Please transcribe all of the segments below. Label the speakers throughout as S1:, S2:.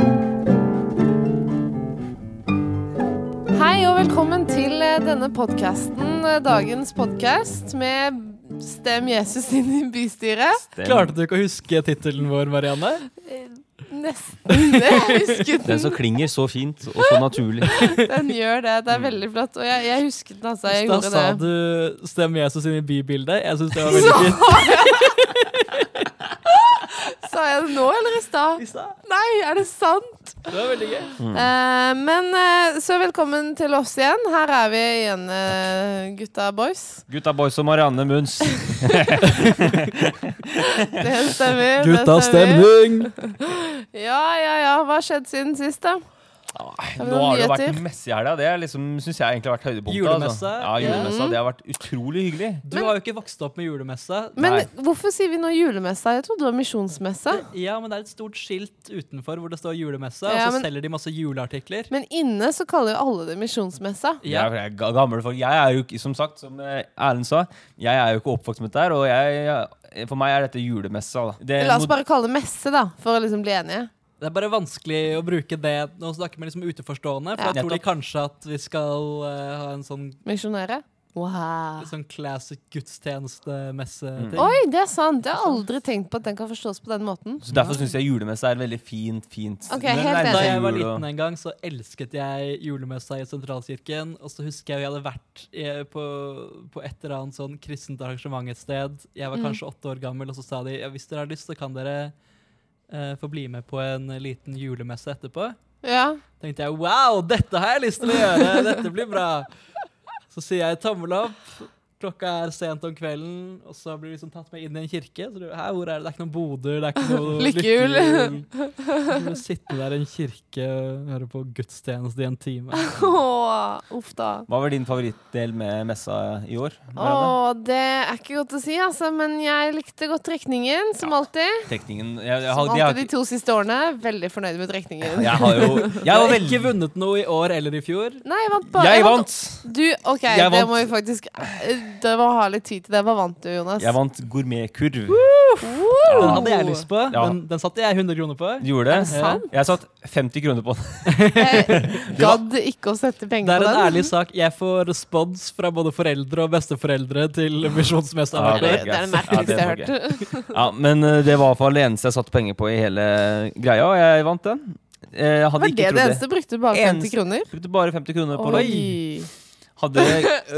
S1: eh, denne podkasten, dagens podkast, med Stem Jesus inn i bystyret.
S2: Klarte du ikke å huske tittelen vår, Marianne?
S1: Nesten. Jeg husket
S3: Den
S1: den.
S3: som klinger så fint og så naturlig.
S1: Den gjør det. Det er veldig flott. Og jeg, jeg husket den, altså. Jeg
S2: da
S1: gjorde
S2: sa
S1: det.
S2: du 'Stem Jesus inn i bybildet'. Jeg syns det var veldig fint.
S1: Sa jeg det nå eller i stad?
S2: I stad.
S1: Nei, er det sant?
S2: Det var veldig gøy.
S1: Eh, men eh, så velkommen til oss igjen. Her er vi igjen, eh, gutta boys.
S3: Gutta boys og Marianne Munns.
S1: Det stemmer. det
S2: Gutta
S1: stemmer.
S2: stemning!
S1: Ja, ja, ja. Hva har skjedd siden sist, da?
S3: Nå har det jo vært messe i helga. Det er liksom, syns jeg egentlig har vært høydepunktet.
S2: Julemesse.
S3: Altså. Ja, julemessa.
S1: Mm.
S3: Det har vært utrolig hyggelig.
S2: Du har jo ikke vokst opp med julemesse.
S1: Men
S3: Nei.
S1: hvorfor sier vi nå julemesse? Jeg trodde det var misjonsmesse.
S2: Ja, men det er et stort skilt utenfor hvor det står julemesse,
S1: Ja,
S2: og så
S1: men-
S2: selger de masse juleartikler.
S1: Men inne så kaller jo alle det misjonsmesse.
S2: Ja.
S3: Jeg, er ga- gammel folk. Jeg er jo ikke, som sagt, som eh, Erlend sa, jeg er jo ikke oppvokst med dette her, og jeg, eh, for meg er dette julemessa. Da. Det,
S1: La oss
S3: mod-
S1: bare kalle det messe, da, for å liksom bli enige.
S2: Det er bare vanskelig å bruke det når man snakker med liksom utenforstående, for
S1: Ja.
S2: da tror de kanskje at vi skal eh, ha en sånn,
S1: Misjonere. Wow.
S2: sånn classic gudstjenestemesse-ting.
S1: Ah. Oi, det er sant! Jeg har aldri tenkt på at den kan forstås på den måten.
S3: så derfor syns jeg julemessa er et veldig fint, fint
S1: Ok,
S3: Det
S1: helt
S3: nærmer
S2: Da
S3: seg
S2: jeg var
S3: jul, og-
S2: liten en gang, så elsket jeg julemessa i sentralkirken. Og så husker jeg vi hadde vært i- på, på et eller annet sånn kristent arrangement et sted. Jeg var kanskje åtte år gammel, og så sa de ja, hvis dere har lyst, så kan dere eh, få bli med på en liten julemesse etterpå.
S1: Ja.
S2: tenkte jeg wow, dette har jeg lyst til å gjøre! Dette blir bra! Så sier jeg tommel opp. Klokka er sent om kvelden, og så blir du liksom tatt med inn i en kirke. Så du, Hæ, hvor er det? det er ikke noen boder, det er ikke noe
S1: Lykkehjul.
S2: Du sitte der i en kirke og høre på gudstjeneste i en time.
S1: Åh, uff da.
S3: Hva var din favorittdel med messa i år? Marianne?
S1: Åh, det er ikke godt å si, altså, men jeg likte godt trekningen, som alltid.
S3: Trekningen jeg, jeg,
S1: Som
S3: har- de har
S1: alltid de to siste årene. Veldig fornøyd med
S3: ikke-
S1: trekningen.
S3: jeg har jo
S2: Jeg
S3: Jeg var
S2: har
S3: veldig
S2: ikke vunnet noe i år eller i fjor.
S1: Nei, jeg vant bare.
S3: Jeg vant!
S1: Du, OK,
S3: Jeg
S1: det
S3: vant.
S1: må vi faktisk Det må ha litt tid til det. Hva vant du, Jonas?
S3: Jeg vant gourmetkurv.
S2: Den
S3: Ja.
S2: hadde jeg lyst på,
S3: Ja.
S2: men den satte jeg 100 kroner på.
S3: Du gjorde
S1: Er det sant?
S3: Jeg satt 50 kroner på den.
S1: Jeg gadd ikke å sette
S2: Det
S1: penger
S2: er
S1: på
S2: en
S1: den.
S2: ærlig sak. Jeg får respons fra både foreldre og besteforeldre til misjonsmester.
S3: Ja,
S1: Det
S3: det
S2: hvert
S3: er
S2: år.
S1: det er det
S3: greit. Ja,
S1: merkeligste
S3: det
S1: jeg har
S3: får jeg
S1: hørt.
S3: Ja, Men eh, det var i hvert fall det eneste jeg satte penger på i hele greia, og jeg vant den. Eh, Jeg hadde
S1: Var det
S3: ikke
S1: det
S3: trodd
S1: eneste? Brukte du bare 50
S3: Eneste-
S1: kroner?
S3: Brukte bare 50 kroner på det.
S1: Oi.
S3: Hadde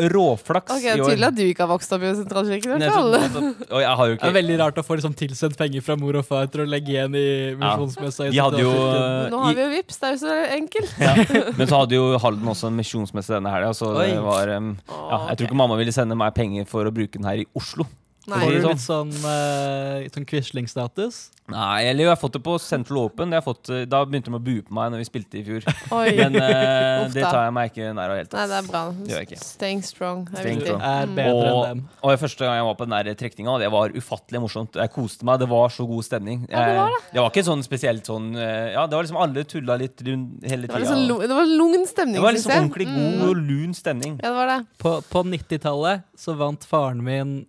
S3: råflaks
S1: Ok,
S3: i år.
S1: Tydelig at du ikke har vokst opp i sentralkirken. i
S3: Nei,
S1: hvert
S3: så-
S1: fall.
S3: Og jeg har jo
S2: Det er
S3: ikke
S2: veldig rart å få liksom, tilsendt penger fra mor og far til å legge igjen i misjonsmessa. i
S3: Vi hadde jo
S2: Sentralkirken.
S3: eh,
S1: Nå har vi
S3: i,
S1: jo Vipps, det er jo så enkelt.
S3: Men så hadde jo Halden også en misjonsmesse denne helga, så det
S2: Oi.
S3: var em, ja, Jeg tror ikke mamma ville sende meg penger for å bruke den her i Oslo.
S1: Nei.
S2: Får du
S3: Sånn.
S2: litt sånn, eh, sånn Quisling-status?
S3: Nei, eller jo, jeg har fått det på Central Open. Det har jeg fått, eh, da begynte de å bue på meg når vi spilte i fjor.
S1: Oi.
S3: Men eh,
S1: Uff
S3: det
S1: da.
S3: tar jeg meg ikke nær av i det hele
S1: Nei, det
S3: tatt.
S1: er bra.
S3: Det gjør jeg ikke.
S1: Staying strong. er
S3: Staying
S1: viktig.
S3: strong.
S2: Er bedre
S3: Og,
S2: enn dem.
S3: og første gang jeg var på den der trekninga, det var ufattelig morsomt. Jeg koste meg, det var så god stemning.
S1: Ja, det var
S3: Jeg- det var ikke sånn spesielt sånn eh, Ja, det var liksom alle tulla litt rundt hele
S1: Det var,
S3: tida.
S1: liksom, lu- det var lugn stemning,
S3: det var
S1: synes
S3: liksom
S1: jeg. Mm.
S3: ordentlig god og lun stemning.
S1: Ja, det var det.
S2: På, på 90-tallet så vant faren min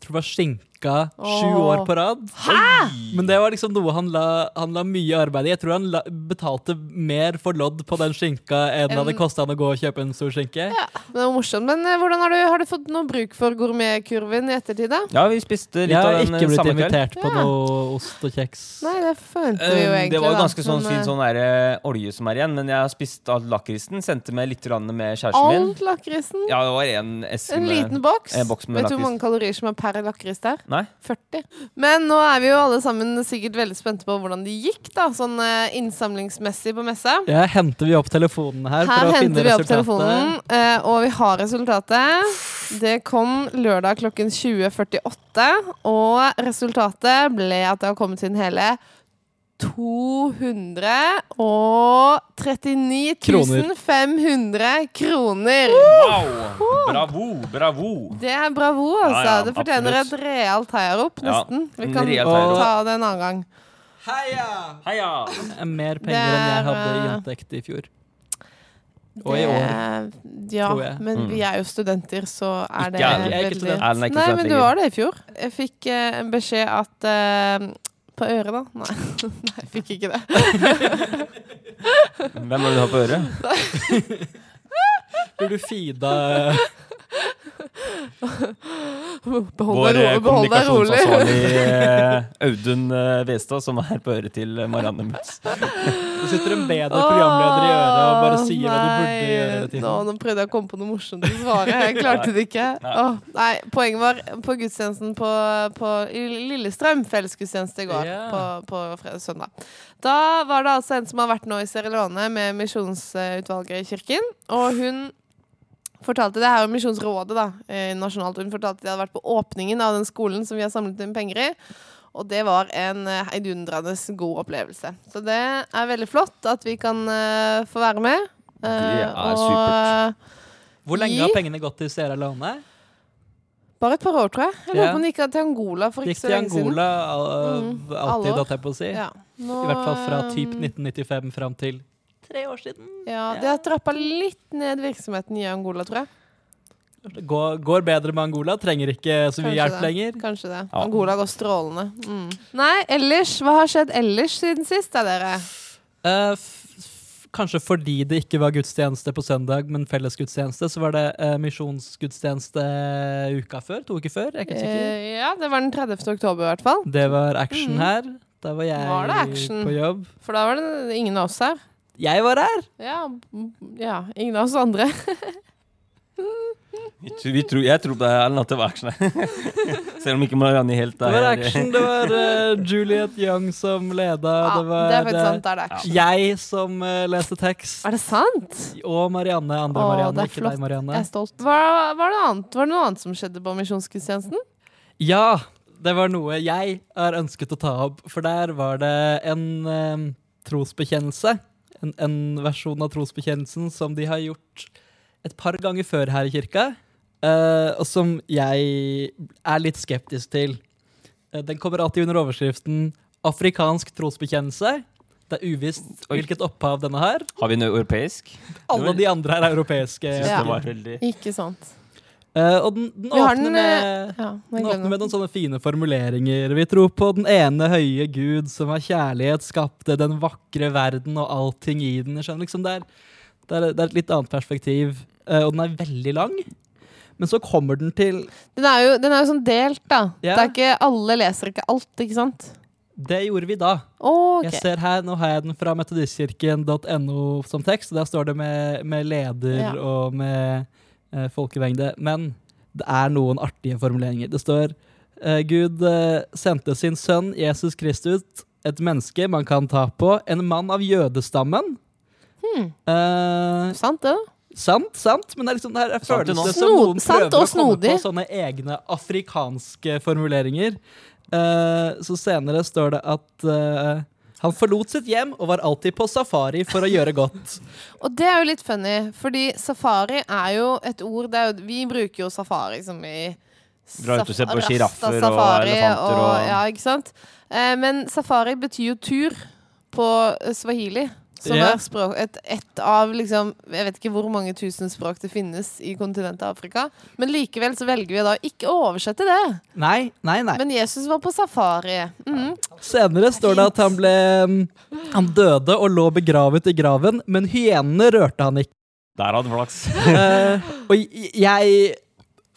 S2: jeg tror det var skinka sju
S1: Åh.
S2: år på rad. Men det var liksom noe han la, han la mye arbeid i. Jeg tror han la, betalte mer for lodd på den skinka enn det hadde
S1: Enn-
S2: kosta han å gå og kjøpe en stor skinke.
S1: Ja, men det var morsomt. Men eh, hvordan har, du, har du fått noe bruk for gourmetkurven i ettertid, da?
S3: Ja, vi spiste litt
S2: Jeg har
S3: av den eh,
S2: ikke blitt
S3: samme kveld.
S2: invitert på
S1: Ja.
S2: noe ost og kjeks.
S1: Nei, det følte vi jo
S3: Eh,
S1: egentlig.
S3: Det var jo
S1: da.
S3: ganske sånn
S1: Men,
S3: fin
S1: eh,
S3: sånn der, eh, olje som er igjen, men jeg har spist all lakrisen. Sendte med litt grann med kjæresten min.
S1: Alt lakrisen.
S3: Ja, det var en eske
S1: En
S3: med-
S1: liten boks.
S3: en boks med
S1: Vet du hvor
S3: lakris.
S1: mange kalorier som er per lakris der?
S3: Nei?
S1: 40. Men nå er vi jo alle sammen sikkert veldig spente på hvordan det gikk, da, sånn eh, innsamlingsmessig på messa.
S2: Ja, henter vi opp telefonen her,
S1: Her
S2: for å finne
S1: henter vi opp
S2: resultatet?
S1: telefonen, eh, og vi har resultatet. Det kom lørdag klokken 20.48, og resultatet ble at det har kommet inn hele 239 500 kroner.
S3: Wow! Bravo! Bravo!
S1: Det er bravo, altså.
S3: Ja, ja,
S1: det fortjener et
S3: absolutt.
S1: realt heiarop,
S3: Ja,
S1: nesten. vi
S3: en
S1: kan
S3: real
S2: heiarop.
S1: ta det en annen gang.
S3: Heia!
S2: Det er Eh, Mer penger enn jeg
S1: Der,
S2: hadde i
S1: eh,
S2: inntekt i fjor. Og i år.
S1: Det- Ja,
S2: tror jeg.
S1: men vi er jo studenter, så er det
S3: Mm. Ikke jeg.
S2: Jeg er ikke student.
S3: Erlend er
S1: Nei, men
S3: ikke
S1: du
S3: student lenger.
S1: var det i fjor. Jeg fikk eh, en beskjed at eh, På øret, da? Nei. Nei, jeg fikk ikke det.
S3: Hvem var det du har på øret?
S2: Blir du eh, feeda
S1: Behold
S3: Vår
S1: deg ro- behold deg
S3: eh,
S1: rolig.
S3: kommunikasjonsansvarlig eh, Audun eh, Westad, som er på øret til eh, Marianne Mutz.
S2: Du sitter en bedre programleder i øret og bare sier hva du
S1: Nei,
S2: burde gjøre. til
S1: Nå, nå prøvde jeg å komme på noe morsomt å svare. Jeg klarte det ikke.
S3: Nei.
S1: Åh, nei, poenget var på gudstjenesten på, på i Lillestrøm fellesgudstjeneste i går.
S2: Ja.
S1: På, på fredag, søndag. Da var det altså en som har vært nå i Sierra Leone med misjonsutvalget i kirken. Og hun fortalte det her om Misjonsrådet da, eh, nasjonalt. Hun fortalte de hadde vært på åpningen av den skolen som vi har samlet inn penger i. Og det var en eh, heidundrende god opplevelse. Så det er veldig flott at vi kan eh, få være med. Eh,
S3: Det er
S1: og, eh,
S2: Hvor lenge har pengene gått til Sierra Leone?
S1: Bare et par år, tror jeg. Jeg lurer
S2: Ja.
S1: på om de gikk til Angola for
S2: Gikk
S1: ikke så
S2: til
S1: lenge siden.
S2: Angola al- eh,
S1: Mm, alle
S2: alltid,
S1: år.
S2: holdt jeg på å si.
S1: Ja. Nå,
S2: I hvert fall fra typ
S1: eh,
S2: 1995 fram til tre år siden.
S1: Ja, De har trappa litt ned virksomheten i Angola, tror jeg.
S2: Det Går, går bedre med Angola, trenger ikke så
S1: Kanskje
S2: mye hjelp
S1: det.
S2: lenger.
S1: Kanskje det.
S3: Ja.
S1: Angola går strålende. Mm. Nei, ellers, hva har skjedd ellers siden sist, da, dere?
S2: Eh, f- f- Kanskje fordi det ikke var gudstjeneste på søndag, men fellesgudstjeneste, så var det eh, misjonsgudstjeneste eh, uka før, to uker før. Jeg er ikke sikker.
S1: Eh, ja, det var den 30. oktober i hvert fall.
S2: Det var action her. Da var jeg
S1: Var det action?
S2: på jobb.
S1: For da var det ingen av oss her.
S2: Jeg var her!
S1: Ja, m- ja ingen av oss andre.
S3: Vi tro- vi tror- Jeg tror på deg, Erlend, at det var action her. Selv om ikke Marianne helt
S2: Det
S3: er
S2: var
S3: her.
S2: action, det var eh, Juliet Young som leda,
S1: Ja,
S2: det var
S1: det er faktisk
S2: eh,
S1: sant. Det er det action.
S2: jeg som eh, leste tekst,
S1: Er det sant?
S2: og Marianne. Andre
S1: Å, det
S2: Marianne,
S1: er
S2: ikke
S1: flott.
S2: deg,
S1: Jeg
S2: Marianne.
S1: er stolt. Hva, var, det annet? var det noe annet som skjedde på misjonsgudstjenesten?
S2: Ja, det var noe jeg har ønsket å ta opp, for der var det en eh, trosbekjennelse. En, en versjon av trosbekjennelsen som de har gjort et par ganger før her i kirka, eh, og som jeg er litt skeptisk til. Eh, Den kommer alltid under overskriften 'Afrikansk trosbekjennelse'. Det er uvisst
S3: Oi.
S2: hvilket opphav denne har.
S3: Har vi en europeisk?
S2: Alle de andre er europeiske.
S3: Jeg synes
S1: Ja.
S3: det var veldig...
S1: Ikke sant.
S2: Eh, og den, den
S1: Vi har
S2: åpner
S1: den, eh,
S2: med
S1: Ja, nå
S2: den åpner
S1: glemmer
S2: med
S1: jeg.
S2: noen sånne fine formuleringer. Vi tror på den ene høye Gud som av kjærlighet skapte den vakre verden og allting i den. Jeg skjønner liksom det er, det er, det er et litt annet perspektiv, eh, og den er veldig lang. Men så kommer den til
S1: den, er jo, den er jo sånn delt, da.
S2: Ja.
S1: Det er ikke, alle leser ikke alt, ikke sant?
S2: Det gjorde vi da.
S1: Å, ok.
S2: Jeg ser her, Nå har jeg den fra metodistkirken.no som tekst, og der står det med, med leder
S1: Ja.
S2: og med eh, folkevengde. Men det er noen artige formuleringer. Det står eh, Gud eh, sendte sin sønn Jesus Kristus, et menneske man kan ta på, en mann av jødestammen.
S1: Hmm.
S2: Eh,
S1: Sant, det, da.
S2: sant, sant, men det er liksom, det her er
S3: Sant og
S2: følelse
S3: nå.
S2: som noen
S1: Snod- sant
S2: prøver å
S1: og
S2: komme på
S1: snodig.
S2: sånne egne afrikanske formuleringer. Eh, så senere står det at eh, han forlot sitt hjem og var alltid på safari for å gjøre godt.
S1: Og det er jo litt funny, fordi safari er jo et ord det er jo, Vi bruker jo safari som i
S3: Dra ut og se på
S1: saf-
S3: giraffer og
S1: rastasafari
S3: elefanter og-
S1: Ja, ikke sant? Eh, men safari betyr jo tur på eh, swahili. Som
S2: Ja.
S1: er språk, et, et av liksom Jeg vet ikke hvor mange tusen språk det finnes i kontinentet Afrika. Men likevel så velger vi da ikke å oversette det.
S2: Nei, nei, nei.
S1: Men Jesus var på safari. Mhm.
S2: Senere står det at han ble mm, Han døde og lå begravet i graven, men hyenene rørte han ikke.
S3: Der hadde flaks.
S2: Eh, og j- jeg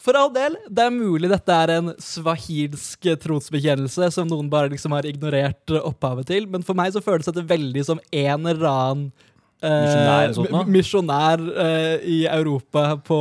S2: For all del, det er mulig dette er en swahilsk trosbekjennelse som noen bare liksom har ignorert eh, opphavet til, men for meg så føles dette veldig som en eller annen eh,
S3: Misjonær eller sånt noe?
S2: mi- misjonær eh, i Europa på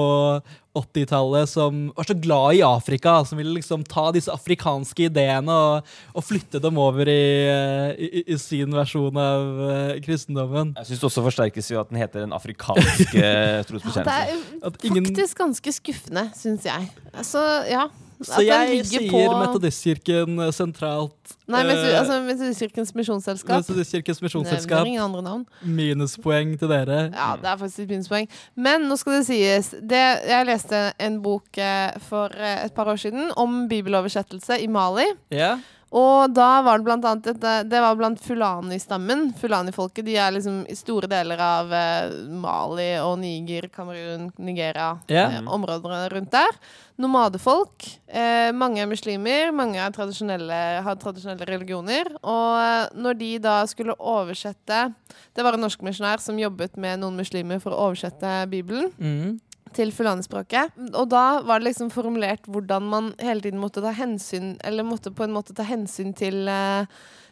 S2: 80-tallet som var så glad i Afrika, som ville liksom ta disse afrikanske ideene og, og flytte dem over i, eh, i, i sin versjon av eh, kristendommen.
S3: Jeg syns det også forsterkes jo at den heter eh, den afrikanske
S1: Det
S3: trosbekjennelsen.
S1: er
S2: At ingen-
S1: faktisk ganske skuffende, syns jeg. Altså, ja. At
S2: Så
S1: den
S2: jeg
S1: ligger
S2: sier
S1: på-
S2: Metodistkirken eh, sentralt.
S1: Nei, men,
S2: eh,
S1: altså Metodistkirkens misjonsselskap.
S2: Metodistkirkens
S1: Nevner
S2: misjonsselskap. Mm.
S1: ingen andre navn.
S2: Minuspoeng til dere.
S1: Ja, det er faktisk et minuspoeng. Men nå skal det sies det, Jeg leste en bok eh, for eh, et par år siden om bibeloversettelse i Mali.
S2: Ja.
S1: Og da var det blant annet dette, Det var blant fulani-stammen. Fulani-folket de er liksom i store deler av eh, Mali og Niger, Kamerun, Nigeria.
S2: Ja.
S1: eh, områdene rundt der. Nomadefolk. Eh, mange er muslimer, mange er tradisjonelle, har tradisjonelle religioner. Og eh, når de da skulle oversette Det var en norsk misjonær som jobbet med noen muslimer for å oversette Bibelen.
S2: Mm.
S1: til fulanespråket. Og da var det liksom formulert hvordan man hele tiden måtte ta hensyn Eller måtte på en måte ta hensyn til eh,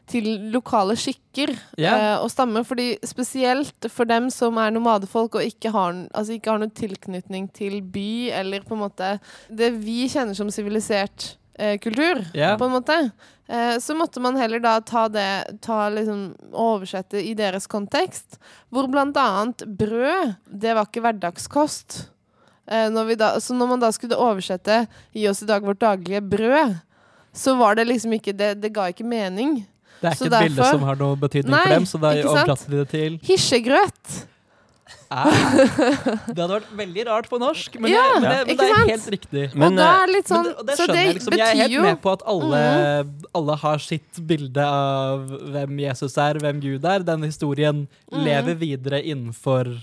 S1: til lokale skikker
S2: Ja.
S1: eh, og stammer. Fordi spesielt for dem som er nomadefolk og ikke har, n- altså ikke har noen tilknytning til by, eller på en måte det vi kjenner som sivilisert eh, kultur,
S2: Ja.
S1: på en måte, eh, så måtte man heller da ta det ta liksom, oversette i deres kontekst. Hvor blant annet brød, det var ikke hverdagskost. Eh, når vi da, så når man da skulle oversette 'gi oss i dag vårt daglige brød', så var det liksom ikke Det, det ga ikke mening.
S2: Det er
S1: Så
S2: ikke et bilde
S1: derfor-
S2: som har noen betydning
S1: Nei,
S2: for dem, så da
S1: ikke sant?
S2: overlater de det til
S1: Hisjegrøt!
S2: Ah. Det hadde vært veldig rart på norsk, men,
S1: Ja,
S2: det, men, det, men
S1: ikke
S2: det er
S1: sant?
S2: helt riktig.
S1: og da
S3: eh,
S1: er det litt
S2: Men
S1: sånn
S2: det, og det
S1: Så
S2: skjønner
S1: det
S2: jeg liksom. Jeg er
S1: betyr
S2: helt
S1: jo Mhm.
S2: med på at alle, alle har sitt bilde av hvem Jesus er, hvem Gud er. Den historien
S1: Mhm.
S2: lever videre innenfor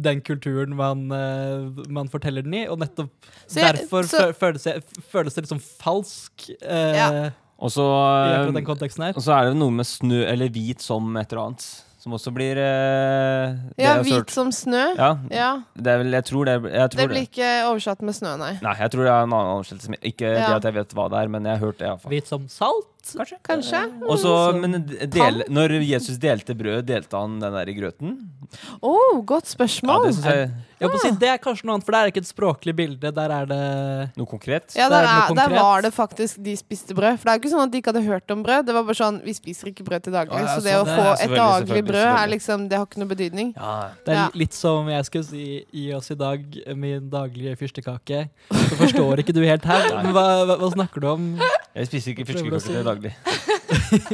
S2: den kulturen man, eh, man forteller den i, og nettopp
S1: Så jeg-
S2: derfor
S1: så-
S2: fø- føles, det, føles det liksom falsk eh,
S1: Ja.
S3: Og så,
S2: i
S3: eh,
S2: akkurat den konteksten her.
S3: og så er det noe med snø eller hvit som et eller annet, som også blir eh, det
S1: Ja,
S3: jeg har
S1: hvit som snø.
S3: hørt. Ja,
S1: Ja.
S3: det er vel Jeg tror det, jeg tror
S1: Det blir ikke oversatt med snø, nei.
S3: Nei, jeg tror det er en annen oversettelse. men Ikke
S1: Ja.
S3: det at jeg vet hva det er, men jeg har hørt det. i hvert fall.
S2: Hvit som salt.
S3: Kanskje.
S1: Kanskje?
S3: Og så- men d- del, når Jesus delte brød, delte han den der i
S1: Å,
S3: grøten?
S1: Mm. Oh, godt
S3: Ja, det
S1: spørsmål!
S3: synes jeg
S2: Jeg holdt på å si,
S1: Ah.
S2: det er kanskje noe annet, for det er ikke et språklig bilde. Der er det
S3: Noe konkret?
S1: Ja,
S2: det
S1: der,
S2: er noe
S1: er, der
S2: konkret.
S1: var det faktisk de spiste brød. For det er jo ikke sånn at de ikke hadde hørt om brød. Det var bare sånn, vi spiser ikke brød til daglig.
S3: Å, ja,
S1: så det
S3: sånn,
S1: å
S3: det
S1: få
S3: er
S1: et
S3: selvfølgelig,
S1: daglig
S3: selvfølgelig,
S1: brød er
S3: selvfølgelig.
S1: liksom, det har ikke noe betydning.
S3: Ja.
S2: Det er
S1: Ja.
S2: litt som jeg skulle si Gi oss i dag min daglige fyrstekake. Så forstår ikke du helt her.
S3: Nei.
S2: Men hva, hva, hva snakker du om?
S3: Jeg spiser ikke
S2: Prøver å
S3: fiskekaker
S2: si-
S3: til daglig.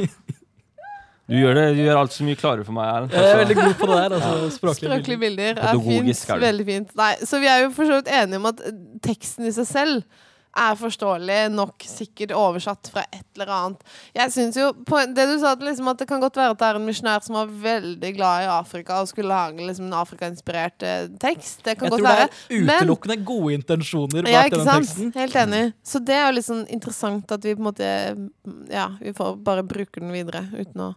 S3: Du gjør, det, du gjør alt så mye klarere for meg, Erlend.
S2: Jeg er veldig god på det der. Altså, språklig
S1: Språklige bilder er
S3: Pedagogisk
S1: fint.
S3: er det.
S1: Veldig fint. Nei, så vi er jo for så vidt enige om at eh, teksten i seg selv er forståelig nok, sikkert oversatt fra et eller annet. Jeg synes jo, på, Det du sa, at, liksom, at det kan godt være at det er en misjonær som var veldig glad i Afrika og skulle lage liksom, en Afrika-inspirert eh, tekst. Det kan
S2: Jeg tror
S1: godt være.
S2: det er
S1: Men-
S2: utelukkende gode intensjoner
S1: Ja,
S2: bak
S1: ikke
S2: den
S1: sant?
S2: teksten.
S1: Helt enig. Så det er jo litt sånn interessant at vi på en måte Ja, vi får bare bruke den videre uten å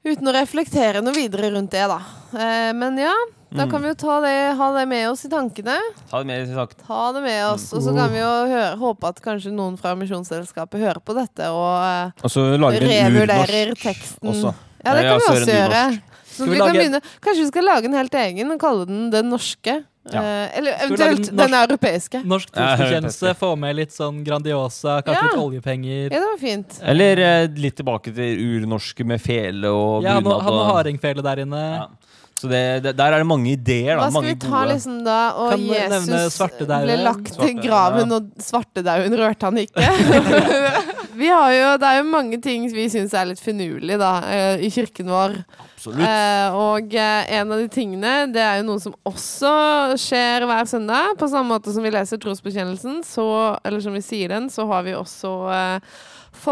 S1: Uten å reflektere noe videre rundt det, da. Eh, men ja, da
S2: Mm.
S1: kan vi jo ta det, ha det med oss i tankene.
S3: Ta det med i saken.
S1: Ta det med oss. Og så kan vi jo høre, håpe at kanskje noen fra Misjonsselskapet hører på dette og eh,
S3: Og så lager vi en
S1: revurderer
S3: urnorsk
S1: teksten.
S3: også.
S1: Ja, det
S3: Ja,
S1: kan vi
S3: så er
S1: også
S3: det
S1: gjøre.
S3: nynorsk.
S1: Så
S2: Skal vi
S1: vi kan
S2: lage en-
S1: begynne, kanskje vi skal lage en helt egen og kalle den Den norske.
S3: Ja.
S1: Eh, eller
S2: vi lage
S1: eventuelt
S2: en
S1: Den europeiske.
S2: Norsk
S3: Ja, jeg hører
S2: trosbekjennelse, få med litt sånn Grandiosa, kanskje
S1: Ja.
S2: litt oljepenger.
S1: Ja, det var fint.
S3: Eller eh, litt tilbake til urnorske med fele og
S2: Ja, han
S3: bunad.
S2: har
S3: og-
S2: hardingfele der inne.
S3: Ja. Så det, det, der er det mange ideer. Da.
S1: Hva skal
S3: mange
S1: vi ta
S3: gode.
S1: liksom da? Og
S2: Kan du nevne
S1: Jesus
S2: svartedauden?
S1: ble lagt til
S3: Svartedauden,
S1: graven,
S3: ja.
S1: og svartedauden rørte han ikke. vi har jo, det er jo mange ting vi syns er litt finurlig da, eh, i kirken vår.
S3: Absolutt.
S1: Eh, og eh, en av de tingene, det er jo noe som også skjer hver søndag. På samme måte som vi leser trosbekjennelsen, så, eller som vi sier den, så har vi også eh,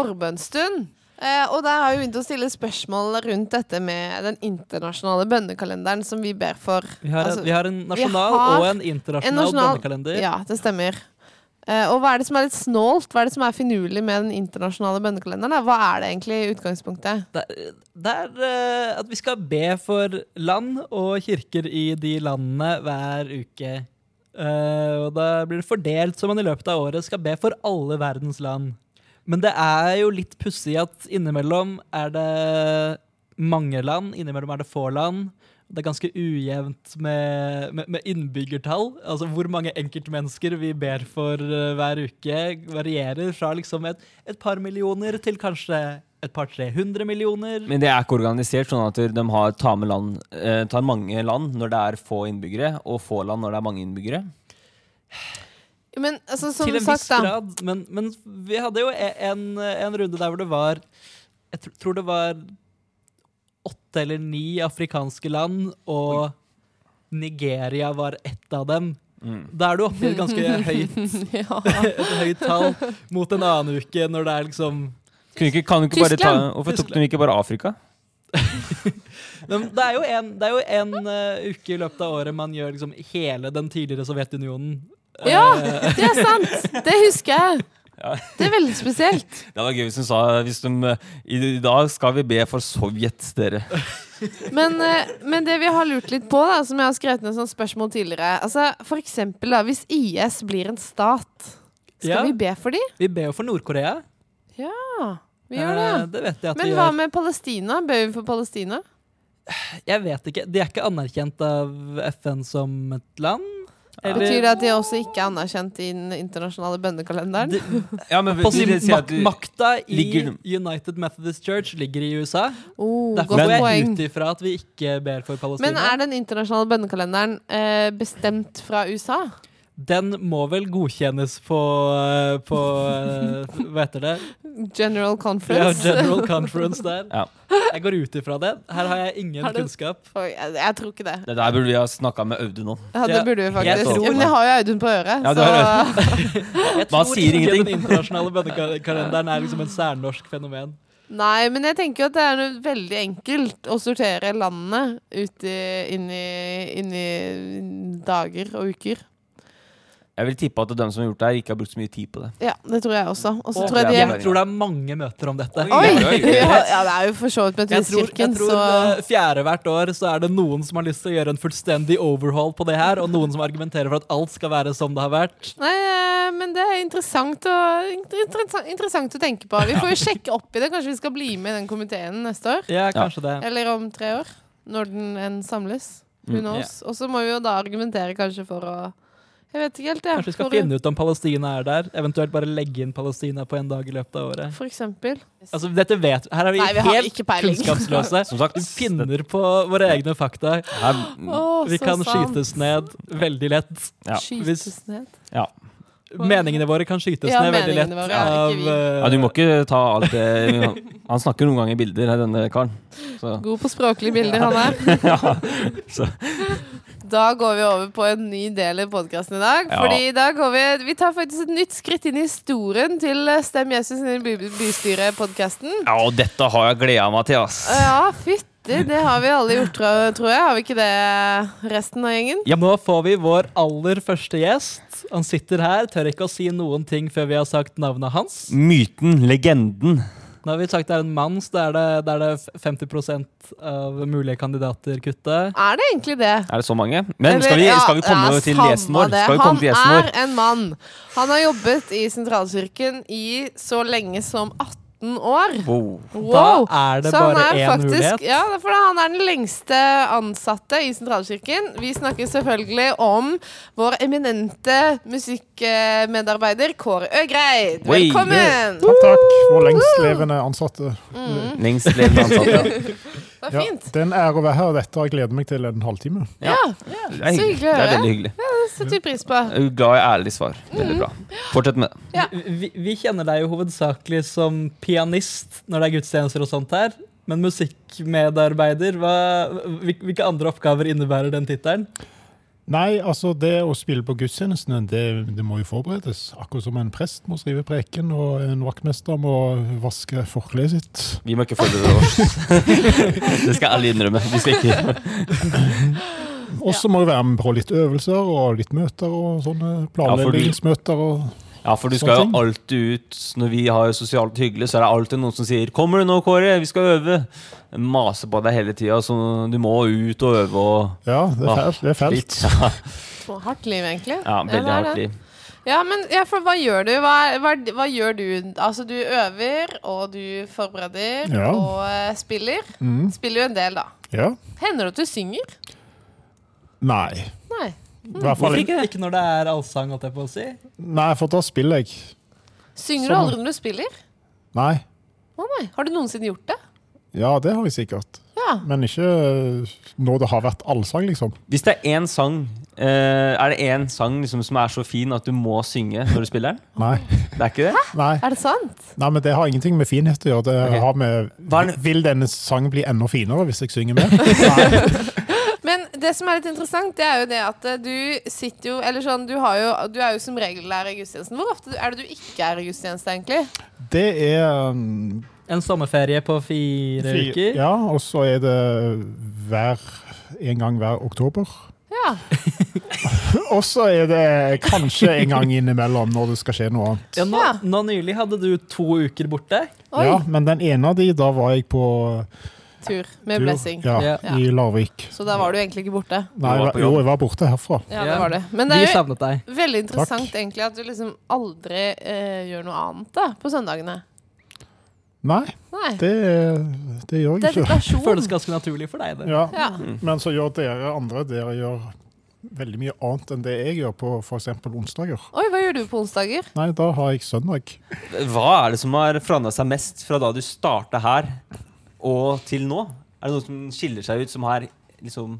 S1: forbønnsstund. Eh, og der har vi begynt å stille spørsmål rundt dette med den internasjonale bønnekalenderen som vi ber for.
S2: Vi har,
S1: Altså,
S2: en, vi har en nasjonal
S1: har
S2: og en
S1: en
S2: internasjonal
S1: nasjonal
S2: bønnekalender.
S1: Ja, det stemmer. Eh, og hva er det som er litt snålt? Hva er det som er finurlig med den internasjonale bønnekalenderen? da? Hva er det egentlig i utgangspunktet?
S2: Det er- det er eh, at vi skal be for land og kirker i de landene hver uke. Eh, og da blir det fordelt så man i løpet av året skal be for alle verdens land. Men det er jo litt pussig at innimellom er det mange land, innimellom er det få land. Det er ganske ujevnt med, med, med innbyggertall. Altså Hvor mange enkeltmennesker vi ber for eh, hver uke, varierer fra liksom et, et par millioner til kanskje et par-tre hundre millioner.
S3: Men det er ikke organisert sånn at de har, tar, med land, eh, tar mange land når det er få innbyggere, og få land når det er mange innbyggere.
S1: Men altså, som
S2: til en
S1: sagt,
S2: viss
S1: da.
S2: grad. Men, men vi hadde jo e- en, en runde der hvor det var Jeg tr tror det var åtte eller ni afrikanske land, og Nigeria var ett av dem.
S3: Mm.
S2: Da er du oppe i et ganske høyt,
S1: ja.
S2: et høyt tall mot en annen uke, når det er liksom
S3: Kunne ikke, kan du ikke bare ta,
S1: Tyskland!
S3: hvorfor tok de ikke bare Afrika?
S2: Men det er jo en, det er jo en eh, uke i løpet av året man gjør liksom hele den tidligere Sovjetunionen.
S1: ja, det er sant! Det husker jeg.
S3: Ja.
S1: Det er veldig spesielt.
S3: Det var gøy hvis hun sa hvis de, eh, I i dag skal vi be for Sovjet, dere.
S1: Men, eh, men det vi har lurt litt på, da, som jeg har skrevet ned som spørsmål tidligere altså, For eksempel, da, hvis IS blir en stat, skal
S2: Ja.
S1: vi be for de?
S2: Vi ber jo for Nord-Korea.
S1: Vi gjør
S2: Eh,
S1: det.
S2: det vet jeg at
S1: Men
S2: vi
S1: hva
S2: gjør.
S1: med Palestina? Bør vi for Palestina?
S2: Jeg vet ikke. De er ikke anerkjent av FN som et land?
S1: Betyr det at de også ikke er anerkjent i den internasjonale bønnekalenderen?
S2: De-
S3: Ja, men
S2: på sin
S3: vil det si at
S2: mak
S3: du-
S2: makta i
S3: Ligger
S2: United Methodist Church ligger i USA.
S1: Oh,
S2: Derfor
S1: godt
S2: går jeg
S1: poeng.
S2: ut ifra at vi ikke ber for Palestina.
S1: Men er den internasjonale bønnekalenderen eh, bestemt fra USA?
S2: Den må vel godkjennes på, eh, på eh, Hva heter det?
S1: General
S2: Ja,
S1: Conference?
S2: General Conference der.
S3: Ja.
S2: Jeg går ut ifra det. Her har jeg ingen
S1: Har du-
S2: kunnskap.
S1: Oi, jeg, jeg tror ikke det.
S3: Det der burde vi ha snakka med Audun om.
S1: Ja, det
S2: Ja,
S1: burde vi faktisk.
S3: tror-
S1: Ja, men jeg har jo Audun på øret.
S3: Ja, du
S1: så
S3: har
S2: Jeg
S3: Man
S2: tror
S3: sier
S2: ikke
S3: ingenting.
S2: den internasjonale bønnekalenderen er liksom en særnorsk fenomen.
S1: Nei, men jeg tenker jo at det er noe veldig enkelt å sortere landene ut i, inn, i, inn i dager og uker.
S3: Jeg vil tippe at de som har gjort det her, ikke har brukt så mye tid på det.
S1: Ja, det tror jeg også. Og så
S2: Og
S1: tror jeg de
S2: jeg tror det er mange møter om dette.
S1: Oi!
S3: Oi, oi, oi.
S1: Ja, det er jo for så vidt
S2: Jeg tror, jeg
S1: Metodistkirken,
S2: tror
S1: så
S2: eh, fjerde hvert år så er det noen som har lyst til å gjøre en fullstendig overhaul på det her, og noen som argumenterer for at alt skal være som det har vært.
S1: Nei, eh, men det er interessant å, inter- interessant, interessant å tenke på. Vi får jo sjekke opp i det. Kanskje vi skal bli med i den komiteen neste år?
S2: Ja, kanskje det.
S1: Eller om tre år, når den enn samles. Who
S3: Mm,
S1: knows? Og så må vi jo da argumentere kanskje for å Jeg vet ikke helt, jeg.
S2: Kanskje vi skal
S1: For-
S2: finne ut om Palestina er der, eventuelt bare legge inn Palestina på en dag i løpet av året.
S1: For eksempel.
S2: Altså, dette vet Her er vi,
S1: Nei, vi har
S2: helt
S1: ikke peiling.
S2: kunnskapsløse.
S3: Som sagt,
S2: Vi finner på våre egne fakta.
S3: Her,
S1: Å,
S2: Mm. Vi
S1: så
S2: kan
S1: sant.
S2: skytes ned veldig lett.
S3: ja.
S1: Skytes
S2: Hvis-
S1: ned.
S2: Meningene våre kan skytes
S1: Ja,
S2: ned veldig lett
S1: meningene våre, ja,
S2: av
S1: ikke vi.
S2: eh,
S3: ja, du må ikke ta alt det Han snakker noen ganger i bilder, denne karen. Så.
S1: God på språklige bilder, han er.
S3: så.
S1: Da går vi over på en ny del i podkasten i dag.
S3: Ja.
S1: Fordi da går vi Vi tar faktisk et nytt skritt inn i historien til eh, Stem Jesus i by bystyret-podkasten.
S3: Ja, og dette har jeg gleda meg til, ass.
S1: Ja, fytti, det har vi alle gjort, tror tror jeg. Har vi ikke det, resten av gjengen?
S2: Ja, nå får vi vår aller første gjest. Han sitter her, tør ikke å si noen ting før vi har sagt navnet hans.
S3: Myten, legenden.
S2: Nå har vi sagt det er en mann, så da er det, da er det f- 50 av mulige kandidater kuttet.
S1: Er det egentlig det?
S3: Er det så mange? Men
S1: Eller,
S3: skal vi,
S1: ja,
S3: skal vi komme
S1: ja,
S3: til
S1: samme
S3: gjesten vår?
S1: det.
S3: Skal vi komme til gjesten
S1: Han
S3: vår?
S1: er en mann. Han har jobbet i sentralkirken i så lenge som 18 år.
S3: Wow.
S1: Wow!
S2: Da er det
S1: Så han
S2: bare
S1: er
S2: én
S1: faktisk,
S2: mulighet.
S1: Ja, det er fordi han er den lengste ansatte i sentralkirken. Vi snakker selvfølgelig om vår eminente musikkmedarbeider Kåre Øgreid.
S3: Oi,
S1: Velkommen!
S4: Takk, takk. Vår lengstlevende ansatte.
S1: Mm,
S3: Lengst levende ansatte.
S1: det var
S4: Ja,
S1: fint.
S4: det er en ære å være her. Dette har jeg gledet meg til en halvtime.
S3: Ja. Det er, hyggelig.
S1: hyggelig å
S3: det er
S1: høre.
S3: veldig hyggelig.
S1: Det setter vi pris på.
S3: Jeg er Glad i ærlig svar.
S1: Mm.
S3: Veldig bra. Fortsett med det.
S1: Ja.
S2: Vi, vi kjenner deg jo hovedsakelig som pianist når det er gudstjenester og sånt her. Men musikkmedarbeider, hva, hvil- hvilke andre oppgaver innebærer den tittelen?
S4: Nei, altså det å spille på gudstjenestene, det, det må jo forberedes. Akkurat som en prest må skrive preken, og en vaktmester må vaske forkleet sitt.
S3: Vi må ikke forberede oss. Det skal alle innrømme. Vi skal ikke
S4: Og så må du være med på litt øvelser og litt møter og sånne
S3: for du-
S4: planleggingsmøter. Og...
S3: Ja, for du skal jo alltid ut Når vi har sosialt hyggelig, så er det alltid noen som sier 'Kommer du nå, Kåre? Vi skal øve.' Maser på deg hele tida, så du må ut og øve og
S4: Ja, det
S3: Ah,
S4: er fælt. Det er fælt.
S3: litt. Ja,
S1: Hardt liv, egentlig.
S3: ja
S1: Ja, det
S3: veldig
S1: er
S3: hardt
S1: det.
S3: liv.
S1: Ja, men ja, for hva gjør du? Hva, hva, hva gjør du? Altså, du øver, og du forbereder,
S4: Ja.
S1: og eh, spiller.
S4: Mm,
S1: Spiller jo en del, da.
S4: ja.
S1: Hender det at du synger?
S4: Nei.
S1: Nei.
S4: I hvert fall
S2: Hvorfor ikke? Ikke når det er allsang, holdt jeg på å si.
S4: Nei, for da spiller jeg.
S1: Synger du
S4: Som-
S1: aldri når du spiller?
S4: Nei.
S1: Å nei. Har du noensinne gjort det?
S4: Ja, det har jeg sikkert.
S1: Ja.
S4: Men ikke øh, når det har vært allsang, liksom.
S3: Hvis det er én sang eh, Er det én sang liksom, som er så fin at du må synge når du spiller den?
S4: Nei.
S3: Det er ikke det?
S4: Nei.
S1: Er det sant?
S4: Nei, men Det har ingenting med finhet å gjøre. Det
S3: Ok.
S4: har med,
S3: Hva er det-
S4: Vil denne sangen bli enda finere hvis jeg synger mer? Nei.
S1: Men det som er litt interessant, det er jo det at eh, du sitter jo Eller sånn, du, har jo, du er jo som regellærer i gudstjenesten. Hvor ofte er det du ikke er i gudstjeneste, egentlig?
S4: Det er um,
S2: En sommerferie på fire
S4: fi-
S2: uker.
S4: Ja, og så er det hver en gang hver oktober.
S1: Ja. Ja!
S4: Og så er det kanskje en gang innimellom når det skal skje noe annet.
S2: Ja, nå,
S1: Ja.
S2: nå nylig hadde du to uker borte.
S1: Oi,
S4: Ja, men den ene av de, da var jeg på
S1: tur med
S4: tur,
S1: blessing.
S4: Ja,
S2: Ja.
S4: I Larvik.
S1: Så da var du egentlig ikke borte.
S4: Nei,
S3: Du var på
S4: jo,
S3: jobb.
S4: jeg var borte herfra.
S1: Ja,
S2: Ja.
S1: det var det. Men det
S2: Vi
S1: er jo
S2: savnet deg.
S1: veldig interessant egentlig at du liksom aldri eh, gjør noe annet da, på søndagene.
S4: Nei,
S1: Nei.
S4: det, det gjør jeg ikke.
S1: Dedikasjon.
S2: Føles ganske naturlig for deg. det.
S4: Ja.
S1: Ja.
S4: Men så gjør dere andre Dere gjør veldig mye annet enn det jeg gjør på f.eks. onsdager.
S1: Oi, hva gjør du på onsdager?
S4: Nei, da har jeg søndag.
S3: Hva er det som har forandra seg mest fra da du starta her og til nå? Er det noe som skiller seg ut, som er liksom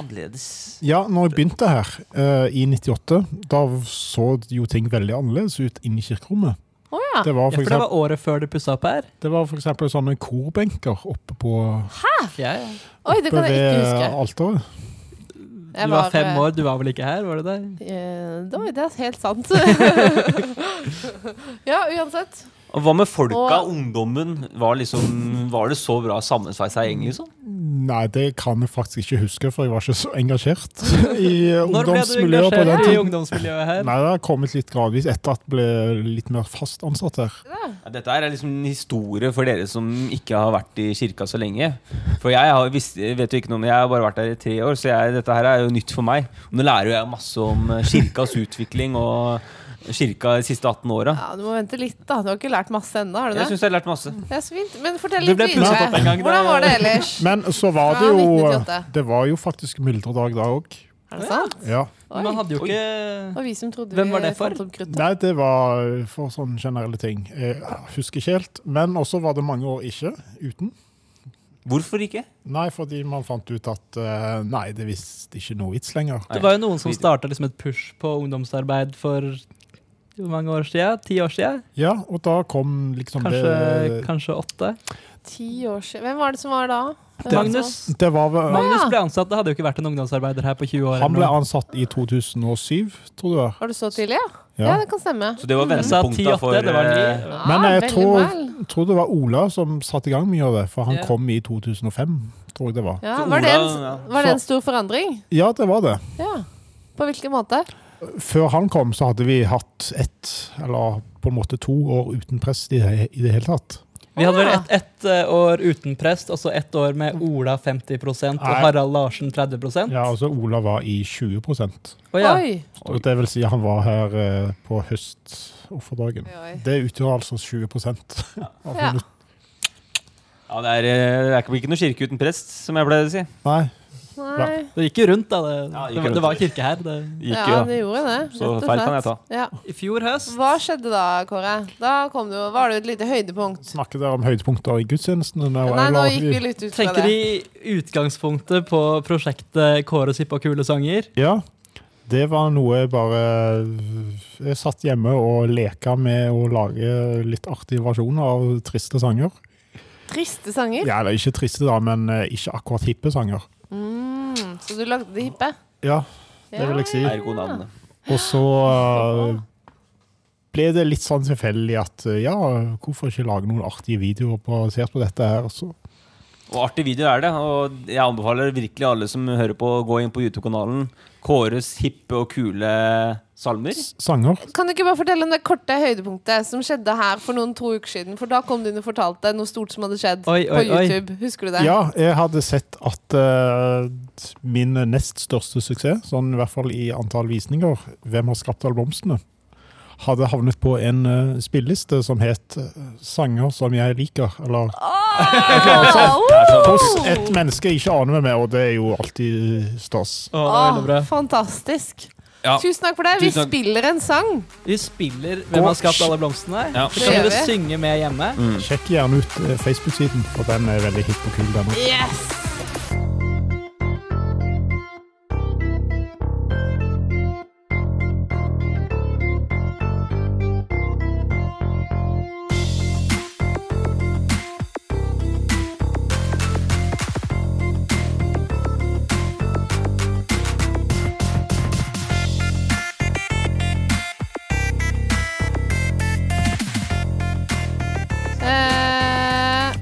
S3: annerledes?
S4: Ja, når jeg begynte her eh, i 98, da så jo ting veldig annerledes ut inne i kirkerommet.
S1: Å ja.
S4: Det var
S2: Ja, for det
S4: f.eks.
S2: var året før du pussa opp her.
S4: sånne korbenker oppe på
S2: Ja, ja.
S1: Oi, det
S4: oppe
S1: kan jeg ikke huske.
S4: ved eh, alteret.
S1: Jeg
S2: Du var fem
S1: eh,
S2: år, du var vel ikke her? var det det?
S1: Eh, det var- det er helt sant. ja, uansett.
S3: Og hva med folka,
S1: Og-
S3: ungdommen? Var, liksom, var det så bra sammensveisa gjeng, liksom?
S4: Nei, det kan jeg faktisk ikke huske, for jeg var ikke så engasjert i
S2: Når ble du
S4: ungdomsmiljøet på den
S2: engasjert i
S4: tiden.
S2: ungdomsmiljøet her?
S4: Nei, det har kommet litt gradvis etter at jeg ble litt mer fast ansatt her.
S3: Ja, dette her er liksom en historie for dere som ikke har vært i kirka så lenge. For jeg har, visst, vet jo ikke noe om, jeg har bare vært der i tre år, så jeg, dette her er jo nytt for meg. Og nå lærer jo jeg masse om eh, kirkas utvikling og kirka de siste 18 åra.
S1: Ja, du må vente litt, da. Du har ikke lært masse ennå, har du
S3: Jeg
S1: det?
S3: syns jeg har lært masse.
S1: Det er så fint. Men fortell
S2: Du
S1: litt
S2: ble pusset opp en gang, det-
S1: Hvordan var det ellers?
S4: Men så var
S1: Fra
S4: det jo
S1: 1998.
S4: Det var jo faktisk myldredag da òg.
S1: Er det sant?
S4: Ja.
S2: Men Man
S1: Oi.
S2: hadde jo ikke
S1: Og vi som trodde
S2: Hvem var
S1: vi
S2: det for?
S1: fant opp kruttet.
S4: Nei, det var eh, for sånne generelle ting. Eh, Jeg husker ikke helt. Men også var det mange år ikke uten.
S3: Hvorfor ikke?
S4: Nei, fordi man fant ut at eh, Nei, det visste ikke noe vits lenger.
S3: Nei.
S2: Det var jo noen som starta liksom et push på ungdomsarbeid for hvor mange år siden? Ti år siden?
S4: Ja, og da kom liksom
S2: Kanskje,
S4: det
S2: kanskje åtte?
S1: Ti år siden. Hvem var det som var da? Hvem var sånn. det
S2: Magnus,
S4: Det var vel
S2: Magnus ble ansatt. Det hadde jo ikke vært en ungdomsarbeider her på 20 år.
S4: Han ble
S2: eller noe.
S4: ansatt i 2007, tror du det
S1: som-
S4: var.
S1: Var det så tidlig, ja? Ja,
S4: Ja.
S1: det kan stemme.
S3: Så det var
S2: Jeg sa ti,
S3: vendepunkta
S2: åtte,
S3: for
S2: det var
S3: eh,
S2: ni.
S1: Ja,
S4: Men jeg
S1: veldig
S4: tror-
S1: vel.
S4: Jeg tror det var Ola som satte i gang mye av det, for han
S2: Ja.
S4: kom i 2005, tror jeg det var.
S1: Ja,
S3: For
S1: var det en,
S3: Ola,
S1: var det en stor forandring?
S4: Ja, det var det.
S1: Ja. På hvilken måte?
S4: Før han kom, så hadde vi hatt ett, eller på en måte to år uten prest i det, i det hele tatt.
S2: Vi hadde vel
S1: Ah.
S2: ett ett, eh, år uten prest, og så ett år med Ola 50 og
S4: Nei.
S2: Harald Larsen 30
S4: Ja, altså Ola var i 20 og
S2: Å ja.
S1: Oi.
S4: Det vil si han var her eh, på høstofferdagen.
S1: Oi.
S4: Det utgjør altså 20 av
S1: Ja.
S4: minutt-
S3: Ja, det, er, eh, det er ikke- blir ikke noe kirke uten prest, som jeg pleier å si.
S4: Nei,
S1: Nei.
S2: Det gikk jo rundt, da. Det,
S3: Ja, det gikk
S2: det, var-
S3: rundt.
S2: det var kirke her. Det.
S1: ja,
S3: Gikk jo.
S1: det gjorde det.
S3: Så
S1: rett og
S3: feil kan jeg
S1: slett.
S3: ta.
S1: Ja.
S2: I fjor høst
S1: Hva skjedde da, Kåre? Da kom det jo, var det jo et lite høydepunkt.
S4: snakker dere om høydepunkter i gudstjenestene? nå,
S1: Nei, nå
S4: eller-
S1: gikk vi litt ut fra
S2: Tenker
S1: det.
S2: de utgangspunktet på prosjektet Kåre Sipp og kule sanger?
S4: Ja, det var noe jeg bare Jeg satt hjemme og leka med å lage litt artige versjoner av triste sanger.
S1: Triste sanger.
S4: Ja, eller ikke triste, da, men eh, ikke akkurat hippe sanger.
S1: Mm, så du lagde de hippe?
S4: Ja,
S1: Ja,
S4: det vil jeg si.
S1: ja.
S3: Ergo navnet.
S4: Og så eh, ble det litt sånn tilfeldig at eh, ja, hvorfor ikke lage noen artige videoer basert på dette her? Så,
S3: Og artig video er det. Og jeg anbefaler virkelig alle som hører på, å gå inn på YouTube-kanalen. Kåres hippe og kule salmer.
S4: s- sanger.
S1: Kan du ikke bare fortelle om det korte høydepunktet som skjedde her for noen to uker siden? For da kom du inn og fortalte noe stort som hadde skjedd
S2: Oi,
S1: på
S2: oi, oi.
S1: YouTube. Husker du det?
S4: Ja, jeg hadde sett at eh, min nest største suksess, sånn i hvert fall i antall visninger, 'Hvem har skapt alle blomstene', hadde havnet på en eh, spilleliste som het eh, 'Sanger som jeg liker', eller
S1: Åh,
S4: hos
S1: woo!
S4: et menneske jeg ikke aner meg med, og det er jo alltid eh, stas.
S2: Å, det var veldig bra.
S1: Åh, fantastisk.
S3: Ja.
S1: Tusen takk for det. Vi
S3: Tusen takk.
S1: spiller en sang.
S2: Vi spiller Hvem har skapt alle blomstene?
S3: Ja. Mm.
S2: Så kan
S1: Det gjør
S2: dere
S1: vi.
S2: synge med hjemme.
S4: Sjekk gjerne ut eh, Facebook-siden, for den er veldig hipp og kul. den også.
S1: Yes! Eh,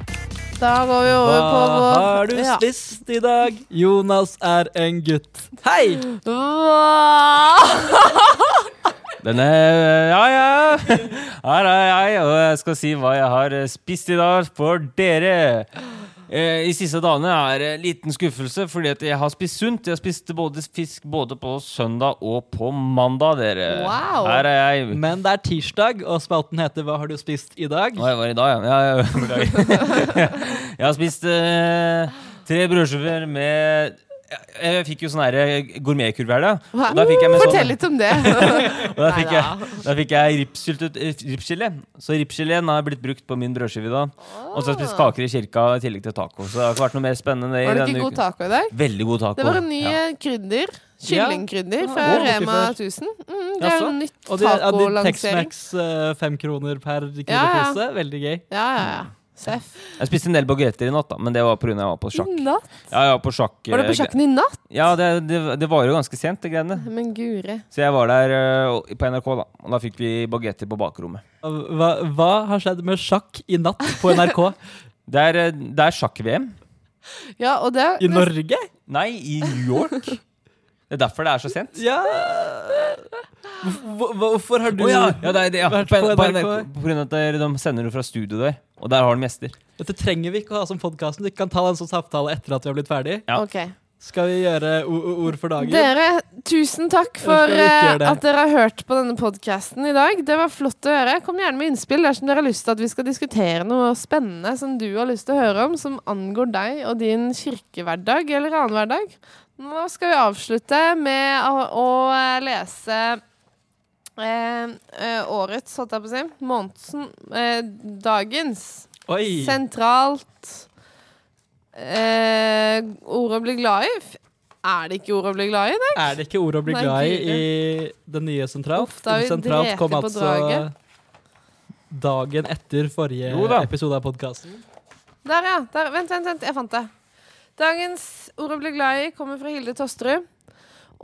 S1: Da går vi over på
S2: Hva
S1: vår
S2: har du
S1: Ja.
S2: spist i dag? Jonas er en gutt. Hei!
S1: Hva?
S3: Denne Ja, ja. Her er jeg, og jeg skal si hva jeg har eh, spist i dag for dere. Eh, I siste dagene er det en liten skuffelse, fordi at jeg har spist sunt. Jeg spiste både fisk både på søndag og på mandag, dere.
S1: Wow.
S3: Her er jeg.
S2: Men det er tirsdag, og spalten heter 'Hva har du spist i dag?'
S3: Hva var det i dag, ja? ja, ja beklager. jeg har spist eh, tre brødskiver med Jeg- Jeg fikk jo sånn her gourmetkurv her, da. Og da fikk jeg med
S1: Fortell
S3: sånn
S1: litt om det.
S3: og da
S1: Neida.
S3: fikk, jeg, da fikk jeg ripsyltet- eh, ripsgelé. Så ripsgeleen har blitt brukt på min brødskive i dag. Og så har jeg spist kaker i kirka i tillegg til taco. Så det har ikke vært noe mer spennende i
S1: Var det
S3: denne
S1: ikke god
S3: uken.
S1: taco i dag?
S3: Veldig god taco.
S1: Det var en ny
S3: ja.
S1: eh, krydder.
S2: Ja.
S1: Kyllingkrydder
S2: Ja,
S1: fra
S2: det var ikke
S1: Rema
S2: før.
S1: 1000. Mm, det er
S3: Jaså?
S1: jo en nytt
S2: Og de, ja, de
S1: tacolansering.
S2: Tex-Max eh, fem kroner per kilopose.
S1: Ja,
S2: Veldig gøy.
S1: Ja, ja, ja. Seff.
S3: Jeg spiste en del baguetter i natt, da, men det var pga. jeg var på sjakk.
S1: I natt?
S3: Ja, jeg var på sjakk.
S1: Var det
S3: eh,
S1: på sjakken i natt?
S3: Ja, det, det, det varer jo ganske sent, de greiene.
S1: Men guri.
S3: Så jeg var der eh, på NRK, da. Og da fikk vi bagetter på bakrommet.
S2: Hva, hva har skjedd med sjakk i natt på NRK?
S3: Det er, eh, det er sjakk-VM.
S1: Ja, og det er
S2: I
S1: nest-
S2: Norge?
S3: Nei, i New York. Det er derfor det er så sent.
S2: Ja Hvor- Hvorfor har du
S3: Å ja, ja, det er det, ja. På,
S2: vært
S3: på,
S2: på
S3: NRK.
S2: NRK?
S3: På grunn av at de sender det fra studio der, og der har de gjester.
S2: Dette trenger vi ikke å ha som podkasten. Vi kan ta en sånn samtale etter at vi har blitt ferdig.
S3: Ja.
S1: Ok.
S2: Skal vi gjøre o- o- ord for dagen?
S1: Dere, tusen takk
S2: Skal
S1: for
S2: vi ikke gjøre
S1: eh,
S2: det?
S1: at dere har hørt på denne podkasten i dag. Det var flott å høre. Kom gjerne med innspill dersom dere har lyst til at vi skal diskutere noe spennende som du har lyst til å høre om, som angår deg og din kirkehverdag eller annen hverdag. Nå skal vi avslutte med å, å eh, lese eh, eh, årets, holdt jeg på å si, månedsen, eh, dagens
S2: Oi!
S1: sentralt eh, ord å bli glad i. F- Er det ikke ord å bli glad i? Det?
S2: Er det ikke ord å bli
S1: Nei,
S2: glad i i
S1: guri.
S2: den nye sentralt?
S1: Uff, da har vi
S2: sentralt
S1: drete
S2: kom
S1: på
S2: altså
S1: draget.
S2: dagen etter forrige
S3: Jo da.
S2: episode av podkasten.
S1: Der, ja. Der. Vent, vent, vent. Jeg fant det. Dagens ord å bli glad i kommer fra Hilde Tosterud.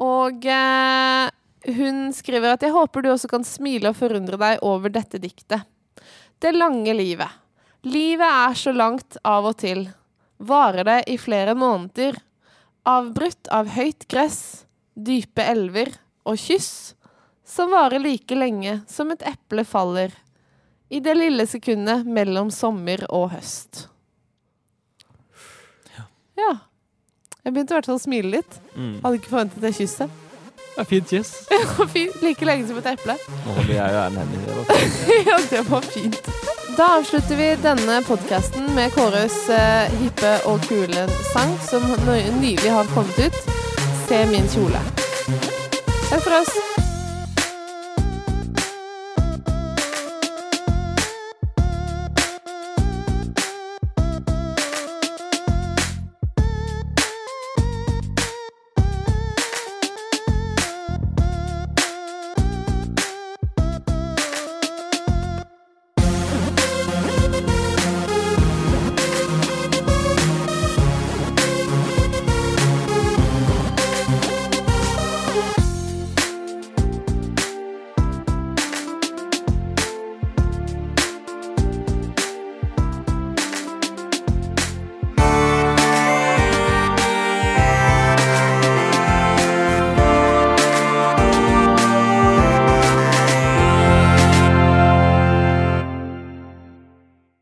S1: Og eh, hun skriver at jeg håper du også kan smile og forundre deg over dette diktet. Det lange livet. Livet er så langt av og til. Varer det i flere måneder. Avbrutt av høyt gress, dype elver og kyss. Som varer like lenge som et eple faller. I det lille sekundet mellom sommer og høst. Ja. Jeg begynte i hvert fall å smile litt.
S3: Mm.
S1: Hadde ikke forventet det kysset.
S2: Ja, fint kyss.
S1: Fint. Like lenge som et eple.
S3: Nå holder jeg jo med henne.
S1: Ja, det var fint. Da avslutter vi denne podkasten med Kåres eh, hippe og kule sang, som nø- nylig har kommet ut. Se min kjole. Takk for oss.